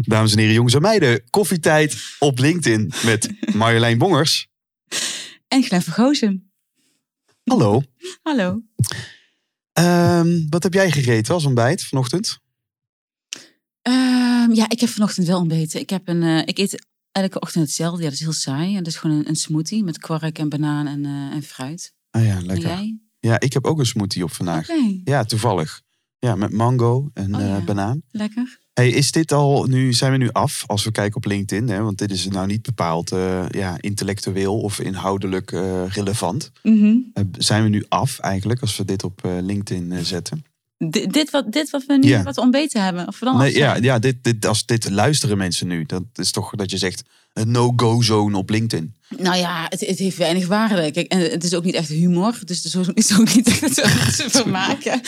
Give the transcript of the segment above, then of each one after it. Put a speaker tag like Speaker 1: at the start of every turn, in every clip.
Speaker 1: Dames en heren, jongens en meiden, koffietijd op LinkedIn met Marjolein Bongers.
Speaker 2: En Glen Vergozen.
Speaker 1: Hallo.
Speaker 2: Hallo.
Speaker 1: Ehm, wat heb jij gegeten als ontbijt vanochtend?
Speaker 2: Ehm, ja, ik heb vanochtend wel ontbeten. Ik, heb een, eh, ik eet elke ochtend hetzelfde. Ja, dat is heel saai. En dat is gewoon een, een smoothie met kwark en banaan en, eh, en fruit.
Speaker 1: Ah ja,
Speaker 2: En
Speaker 1: lekker.
Speaker 2: jij?
Speaker 1: Ja, ik heb ook een smoothie op vandaag.
Speaker 2: Oké,
Speaker 1: Ja, toevallig. Ja, met mango en
Speaker 2: Oh,
Speaker 1: eh,
Speaker 2: ja.
Speaker 1: banaan.
Speaker 2: lekker.
Speaker 1: Hey, is dit al, nu zijn we nu af als we kijken op LinkedIn, hè? want dit is nou niet bepaald eh, ja, intellectueel of inhoudelijk eh, relevant.
Speaker 2: Mhm.
Speaker 1: Eh, zijn we nu af eigenlijk als we dit op eh, LinkedIn eh, zetten?
Speaker 2: Di- dit, wat, dit wat we nu
Speaker 1: Ja.
Speaker 2: wat ontbeten hebben. Of we dan
Speaker 1: Nee,
Speaker 2: af zijn?
Speaker 1: ja, ja dit, dit, als dit luisteren mensen nu, dat is toch dat je zegt een no-go zone op LinkedIn.
Speaker 2: Nou ja, het, het heeft weinig waarde. Kijk, en het is ook niet echt humor. Dus zo is het ook niet echt te vermaken.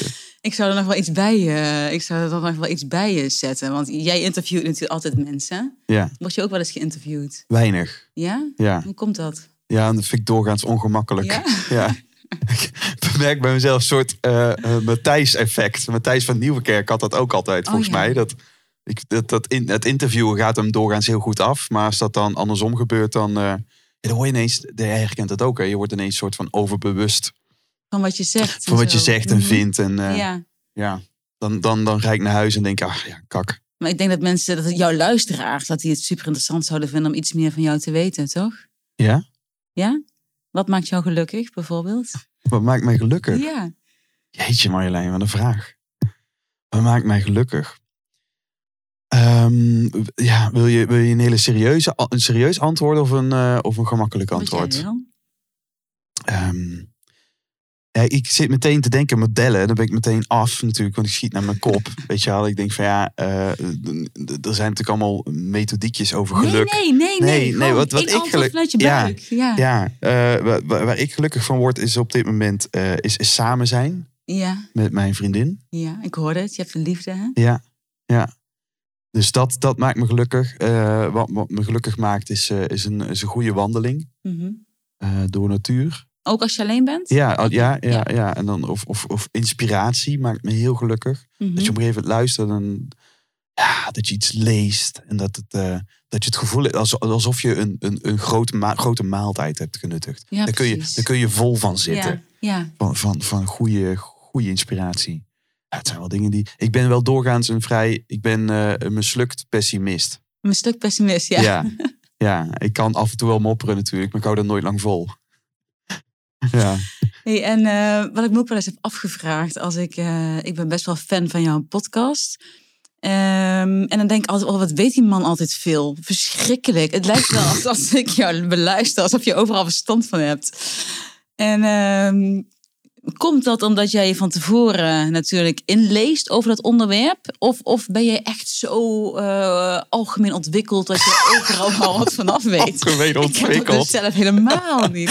Speaker 2: ik zou er nog wel iets bij, eh, ik zou er nog wel iets bij eh, zetten. Want jij interviewt natuurlijk altijd mensen.
Speaker 1: Ja,
Speaker 2: Word je ook wel eens geïnterviewd?
Speaker 1: weinig.
Speaker 2: Ja?
Speaker 1: Ja,
Speaker 2: Hoe komt dat?
Speaker 1: ja en dat vind ik doorgaans ongemakkelijk.
Speaker 2: Ja?
Speaker 1: Ja. Ik merk bij mezelf een soort eh, eh, Matthijs-effect. Matthijs van Nieuwkerk had dat ook altijd,
Speaker 2: Oh,
Speaker 1: volgens
Speaker 2: ja.
Speaker 1: mij. Dat, ik, dat, dat in, het interviewen gaat hem doorgaans heel goed af. Maar als dat dan andersom gebeurt, dan, eh, ja, dan hoor je ineens... Jij herkent dat ook, hè? Je wordt ineens een soort van overbewust
Speaker 2: Van wat je zegt.
Speaker 1: van
Speaker 2: en
Speaker 1: wat je
Speaker 2: zo.
Speaker 1: zegt en
Speaker 2: Mhm.
Speaker 1: vindt. En eh, ja,
Speaker 2: Ja.
Speaker 1: dan, dan, dan ga ik naar huis en denk ach ja, kak.
Speaker 2: Maar ik denk dat mensen, dat jouw luisteraars, dat die het super interessant zouden vinden om iets meer van jou te weten, toch?
Speaker 1: Ja?
Speaker 2: Ja? Wat maakt jou gelukkig, bijvoorbeeld?
Speaker 1: Wat maakt mij gelukkig?
Speaker 2: Ja.
Speaker 1: Jeetje Marjolein, wat een vraag. Wat maakt mij gelukkig? Ehm, w- ja, wil je, wil je een hele serieuze, a- een serieus antwoord of een, eh, of een gemakkelijk
Speaker 2: Wat jij
Speaker 1: antwoord?
Speaker 2: wil.
Speaker 1: Ehm, ja, ik zit meteen te denken modellen. Dan ben ik meteen af natuurlijk, want ik schiet naar mijn kop. Weet je wel, ik denk van ja, eh, d- d- er zijn natuurlijk allemaal methodiekjes over geluk.
Speaker 2: Nee, nee, nee.
Speaker 1: Nee, nee,
Speaker 2: Gewoon
Speaker 1: wat- wat
Speaker 2: één
Speaker 1: ik
Speaker 2: antwoord
Speaker 1: geluk-
Speaker 2: vanuit je
Speaker 1: Ja,
Speaker 2: buik. Ja. Ja.
Speaker 1: Ja, eh, wa- wa- waar, ik gelukkig van word is op dit moment eh, is, is samen zijn
Speaker 2: ja,
Speaker 1: met mijn vriendin.
Speaker 2: ik hoorde het. Je hebt een liefde, hè?
Speaker 1: Ja, ja. Dus dat, dat maakt me gelukkig. Eh, wat, wat me gelukkig maakt is, eh, is, een, is een goede wandeling
Speaker 2: Mhm.
Speaker 1: eh, door natuur.
Speaker 2: Ook als je alleen bent?
Speaker 1: Ja, al- ja, ja,
Speaker 2: Ja.
Speaker 1: ja. En dan, of, of, of inspiratie maakt me heel gelukkig.
Speaker 2: Mhm.
Speaker 1: Dat je op een gegeven moment luistert en ja, dat je iets leest. En dat, het, eh, dat je het gevoel hebt als- alsof je een, een, een grote, ma- grote maaltijd hebt genuttigd.
Speaker 2: Ja,
Speaker 1: daar, kun je,
Speaker 2: precies.
Speaker 1: daar kun je vol van zitten.
Speaker 2: Ja, ja.
Speaker 1: van, van, van goede, goede inspiratie. Ja, het zijn wel dingen die. Ik ben wel doorgaans een vrij. Ik ben eh, een mislukt pessimist.
Speaker 2: Een stuk pessimist, ja.
Speaker 1: ja. Ja, ik kan af en toe wel mopperen natuurlijk, maar ik hou dat nooit lang vol. Ja,
Speaker 2: Hey, en eh, wat ik me ook wel eens heb afgevraagd, als ik, eh, ik ben best wel fan van jouw podcast. Ehm, en dan denk ik altijd, oh, wat weet die man altijd veel? Verschrikkelijk. Het lijkt wel alsof als ik jou beluister, alsof je overal verstand van hebt. En ehm, komt dat omdat jij je van tevoren natuurlijk inleest over dat onderwerp? Of, of ben jij echt zo eh, algemeen ontwikkeld dat je overal al wat vanaf weet?
Speaker 1: algemeen
Speaker 2: Ik heb dat dus
Speaker 1: ontwikkeld.
Speaker 2: zelf helemaal niet.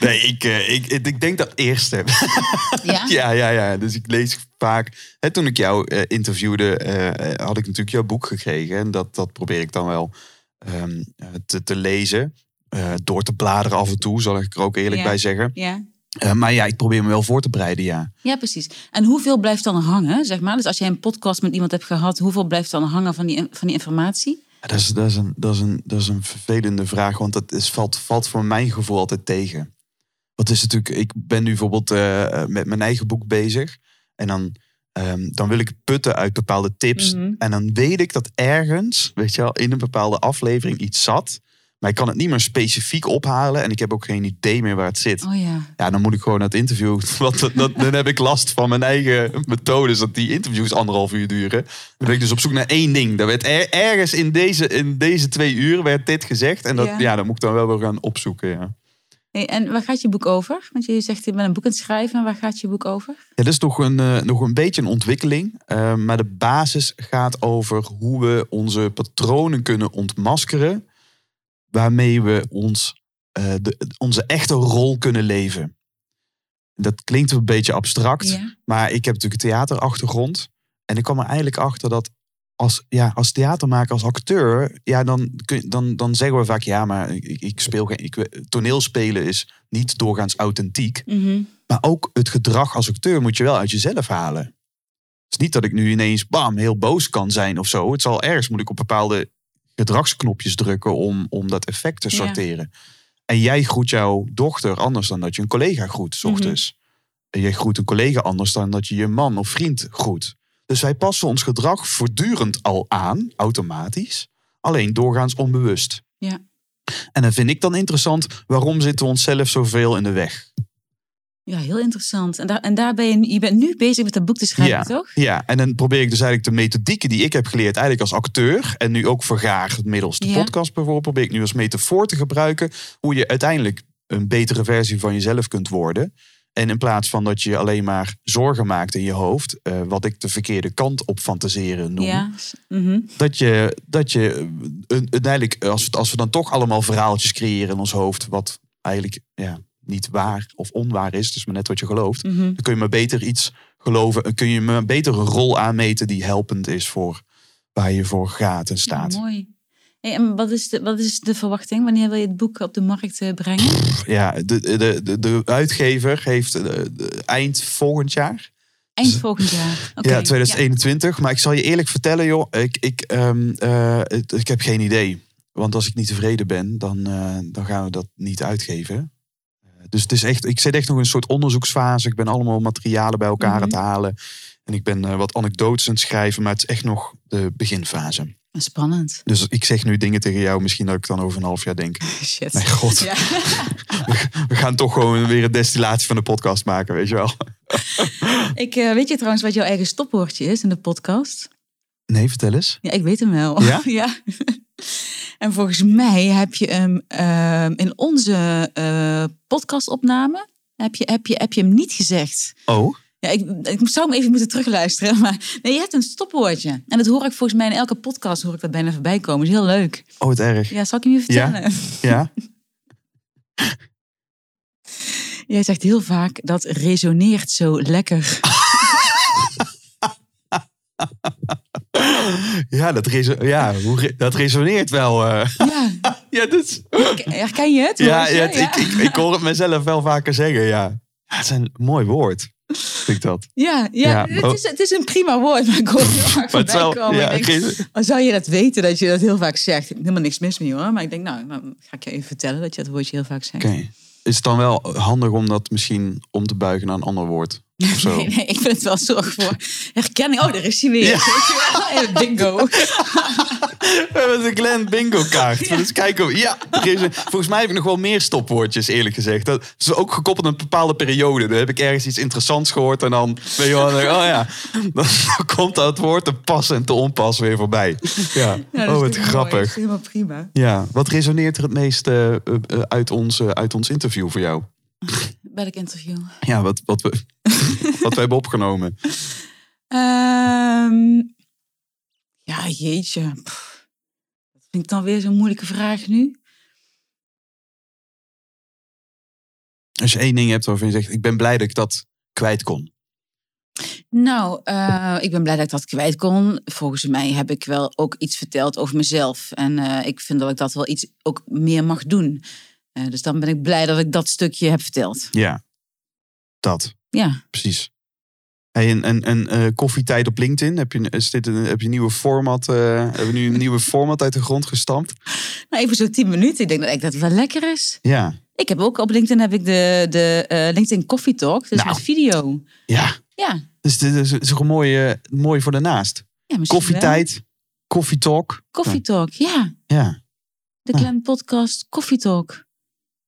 Speaker 1: Nee, ik, eh, ik, ik, ik denk dat eerste.
Speaker 2: Ah. Ja?
Speaker 1: Ja, ja, ja. Dus ik lees vaak. Hè, toen ik jou eh, interviewde, eh, had ik natuurlijk jouw boek gekregen. En dat, dat probeer ik dan wel ehm, eh, te, te lezen. Eh, door te bladeren af en toe, zal ik er ook eerlijk
Speaker 2: Ja.
Speaker 1: bij zeggen.
Speaker 2: Ja.
Speaker 1: Eh, maar ja, ik probeer me wel voor te bereiden, ja.
Speaker 2: Ja, precies. En hoeveel blijft dan hangen, zeg maar? Dus als jij een podcast met iemand hebt gehad, hoeveel blijft dan hangen van die, van die informatie?
Speaker 1: Dat is, dat, is een, dat, is een, dat is een vervelende vraag, want dat is, valt, valt voor mijn gevoel altijd tegen. Wat is natuurlijk, ik ben nu bijvoorbeeld eh, eh, met mijn eigen boek bezig. En dan, ehm, dan wil ik putten uit bepaalde tips.
Speaker 2: Mhm.
Speaker 1: En dan weet ik dat ergens, weet je wel, in een bepaalde aflevering iets zat. Maar ik kan het niet meer specifiek ophalen en ik heb ook geen idee meer waar het zit.
Speaker 2: Oh ja.
Speaker 1: Ja, dan moet ik gewoon naar het interview. Want dat, dat- dan heb ik last van mijn eigen methodes. Dat die interviews anderhalf uur duren. Dan ben ik dus op zoek naar één ding. Daar werd er- ergens in deze, in deze twee uur werd dit gezegd. En dat, ja.
Speaker 2: Ja.
Speaker 1: dat moet ik dan wel weer gaan opzoeken. Ja.
Speaker 2: Hey, en waar gaat je boek over? Want je zegt, je bent een boek aan het schrijven. En waar gaat je boek over?
Speaker 1: Ja, dat is nog een, eh, nog een beetje een ontwikkeling. Eh, maar de basis gaat over hoe we onze patronen kunnen ontmaskeren. Waarmee we ons, eh, de, onze echte rol kunnen leven. Dat klinkt een beetje abstract.
Speaker 2: Ja.
Speaker 1: Maar ik heb natuurlijk een theaterachtergrond. En ik kwam er eigenlijk achter dat als, ja, als theatermaker, als acteur, ja, dan, kun, dan, dan zeggen we vaak, ja, maar ik, ik speel geen. Ik, toneelspelen is niet doorgaans authentiek.
Speaker 2: Mhm.
Speaker 1: Maar ook het gedrag als acteur moet je wel uit jezelf halen. Het is niet dat ik nu ineens bam heel boos kan zijn of zo. Het zal ergens moet ik op bepaalde gedragsknopjes drukken om, om dat effect te
Speaker 2: Ja.
Speaker 1: sorteren. En jij groet jouw dochter anders dan dat je een collega groet, s
Speaker 2: Mhm.
Speaker 1: ochtends. En jij groet een collega anders dan dat je je man of vriend groet. Dus wij passen ons gedrag voortdurend al aan, automatisch. Alleen doorgaans onbewust.
Speaker 2: Ja.
Speaker 1: En dan vind ik dan interessant, waarom zitten we onszelf zoveel in de weg?
Speaker 2: Ja, heel interessant. En daar, en daar ben je, je bent nu bezig met dat boek te schrijven, toch?
Speaker 1: Ja, en dan probeer ik dus eigenlijk de methodieken die ik heb geleerd, eigenlijk als acteur en nu ook vergaard middels de
Speaker 2: Ja.
Speaker 1: podcast bijvoorbeeld, probeer ik nu als metafoor te gebruiken hoe je uiteindelijk een betere versie van jezelf kunt worden. En in plaats van dat je alleen maar zorgen maakt in je hoofd, eh, wat ik de verkeerde kant op fantaseren noem,
Speaker 2: Ja. Mhm.
Speaker 1: dat je, dat je eh, een, uiteindelijk, eh, als we, als we dan toch allemaal verhaaltjes creëren in ons hoofd, wat eigenlijk ja, niet waar of onwaar is, dus maar net wat je gelooft.
Speaker 2: Mhm.
Speaker 1: Dan kun je maar beter iets geloven. Dan kun je maar beter een rol aanmeten die helpend is voor waar je voor gaat en staat.
Speaker 2: Ja, mooi. Hey, en wat is, de, wat is de verwachting? Wanneer wil je het boek op de markt eh, brengen?
Speaker 1: Ja, de, de, de, de uitgever heeft eh, de- eind volgend jaar.
Speaker 2: Eind volgend jaar. Oké.
Speaker 1: Ja, 2021. Maar ik zal je eerlijk vertellen, joh. Ik, ik, ehm, eh, het- ik heb geen idee. Want als ik niet tevreden ben, dan, eh, dan gaan we dat niet uitgeven. Eh, Dus het is echt, ik zit echt nog in een soort onderzoeksfase. Ik ben allemaal materialen bij elkaar
Speaker 2: Mhm.
Speaker 1: aan het halen. En ik ben eh, wat anekdotes aan het schrijven. Maar het is echt nog de beginfase.
Speaker 2: Ja. Spannend.
Speaker 1: Dus ik zeg nu dingen tegen jou, misschien dat ik dan over een half jaar denk.
Speaker 2: Shit.
Speaker 1: Mijn god,
Speaker 2: Ja.
Speaker 1: we gaan toch gewoon weer een destillatie van de podcast maken, weet je wel.
Speaker 2: Ik, eh, weet je trouwens wat jouw eigen stopwoordje is in de podcast?
Speaker 1: Nee, vertel eens.
Speaker 2: Ja, ik weet hem wel.
Speaker 1: Ja?
Speaker 2: En volgens mij heb je hem ehm, in onze eh, podcastopname heb je, heb, je, heb je hem niet gezegd.
Speaker 1: Oh,
Speaker 2: Ja, ik, ik zou hem even moeten terugluisteren. Maar nee, je hebt een stopwoordje. En dat hoor ik volgens mij in elke podcast hoor ik dat bijna voorbij komen. is heel leuk.
Speaker 1: oh het erg.
Speaker 2: Ja, zal ik hem je
Speaker 1: Ja.
Speaker 2: vertellen?
Speaker 1: Ja?
Speaker 2: Jij zegt heel vaak dat resoneert zo lekker.
Speaker 1: Ja, dat, reso- ja, hoe re- dat resoneert wel. eh.
Speaker 2: Ja,
Speaker 1: Ja, dat is-
Speaker 2: herken je het?
Speaker 1: ja,
Speaker 2: Maurice?
Speaker 1: ja, het- Ik, ik, ik hoor het mezelf wel vaker zeggen, ja. ja het is een mooi woord, vind ik dat.
Speaker 2: Ja, ja,
Speaker 1: Ja,
Speaker 2: Het, is, het is een prima woord, maar ik hoor het heel vaak
Speaker 1: Maar het is
Speaker 2: voorbij
Speaker 1: wel-
Speaker 2: komen.
Speaker 1: ja,
Speaker 2: Ik denk,
Speaker 1: het is-
Speaker 2: oh, zou je dat weten, dat je dat heel vaak zegt? Helemaal niks mis mee hoor, maar ik denk, nou, dan ga ik je even vertellen dat je dat woordje heel vaak zegt.
Speaker 1: Oké. Is het dan wel handig om dat misschien om te buigen naar een ander woord? Of zo?
Speaker 2: Nee, nee, ik vind het wel zorg voor herkenning. Oh, daar is hij weer. Weet je wel? Ja,
Speaker 1: Oh,
Speaker 2: Bingo. Nou,
Speaker 1: We hebben dus een Glenn bingo kaart. Dus kijken we- Ja, er is een- volgens mij heb ik nog wel meer stopwoordjes eerlijk gezegd. Dat is ook gekoppeld aan een bepaalde periode. Dan heb ik ergens iets interessants gehoord en dan weet je wel, dan denk ik, oh ja, dan komt dat woord te pas en te onpas weer voorbij. Ja.
Speaker 2: Ja, dat is
Speaker 1: oh, wat
Speaker 2: natuurlijk mooi. Dat is
Speaker 1: grappig.
Speaker 2: helemaal prima.
Speaker 1: Ja, wat resoneert er het meest eh, eh, eh, uit, ons, eh, uit ons interview voor jou?
Speaker 2: Welk interview?
Speaker 1: Ja, wat, wat, we, wat we hebben opgenomen.
Speaker 2: Ehm, ja, jeetje. Pff, Dat vind ik dan weer zo'n moeilijke vraag nu.
Speaker 1: Als je één ding hebt waarvan je zegt, ik ben blij dat ik dat kwijt kon.
Speaker 2: Nou, eh, ik ben blij dat ik dat kwijt kon. Volgens mij heb ik wel ook iets verteld over mezelf. En eh, ik vind dat ik dat wel iets ook meer mag doen. Eh, dus dan ben ik blij dat ik dat stukje heb verteld.
Speaker 1: Ja, dat.
Speaker 2: Ja.
Speaker 1: Precies. Hey, en en, en eh, koffietijd op LinkedIn. Heb je, is dit een, heb je een nieuwe format? eh, hebben we nu een nieuwe format uit de grond gestampt?
Speaker 2: Nou, even zo'n tien minuten. Ik denk dat ik dat wel lekker is.
Speaker 1: Ja.
Speaker 2: Ik heb ook op LinkedIn heb ik de, de eh, LinkedIn Coffee Talk. Dus
Speaker 1: Nou.
Speaker 2: met video.
Speaker 1: Ja.
Speaker 2: Ja.
Speaker 1: Dus dit is, is toch een mooie, mooi voor daarnaast.
Speaker 2: ja misschien wel.
Speaker 1: Koffietijd, koffietalk.
Speaker 2: Coffee Talk, ja.
Speaker 1: Ja.
Speaker 2: De
Speaker 1: Ah.
Speaker 2: Glen Podcast Coffee Talk.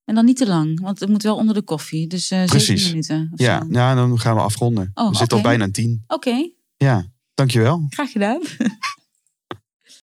Speaker 2: En dan niet te lang, want het moet wel onder de koffie. Dus eh
Speaker 1: Precies.
Speaker 2: zeven minuten of
Speaker 1: Ja.
Speaker 2: zo.
Speaker 1: ja, dan gaan we afronden.
Speaker 2: Oh,
Speaker 1: we zitten
Speaker 2: oké.
Speaker 1: al bijna aan tien.
Speaker 2: Oké,
Speaker 1: Ja, dankjewel.
Speaker 2: graag gedaan.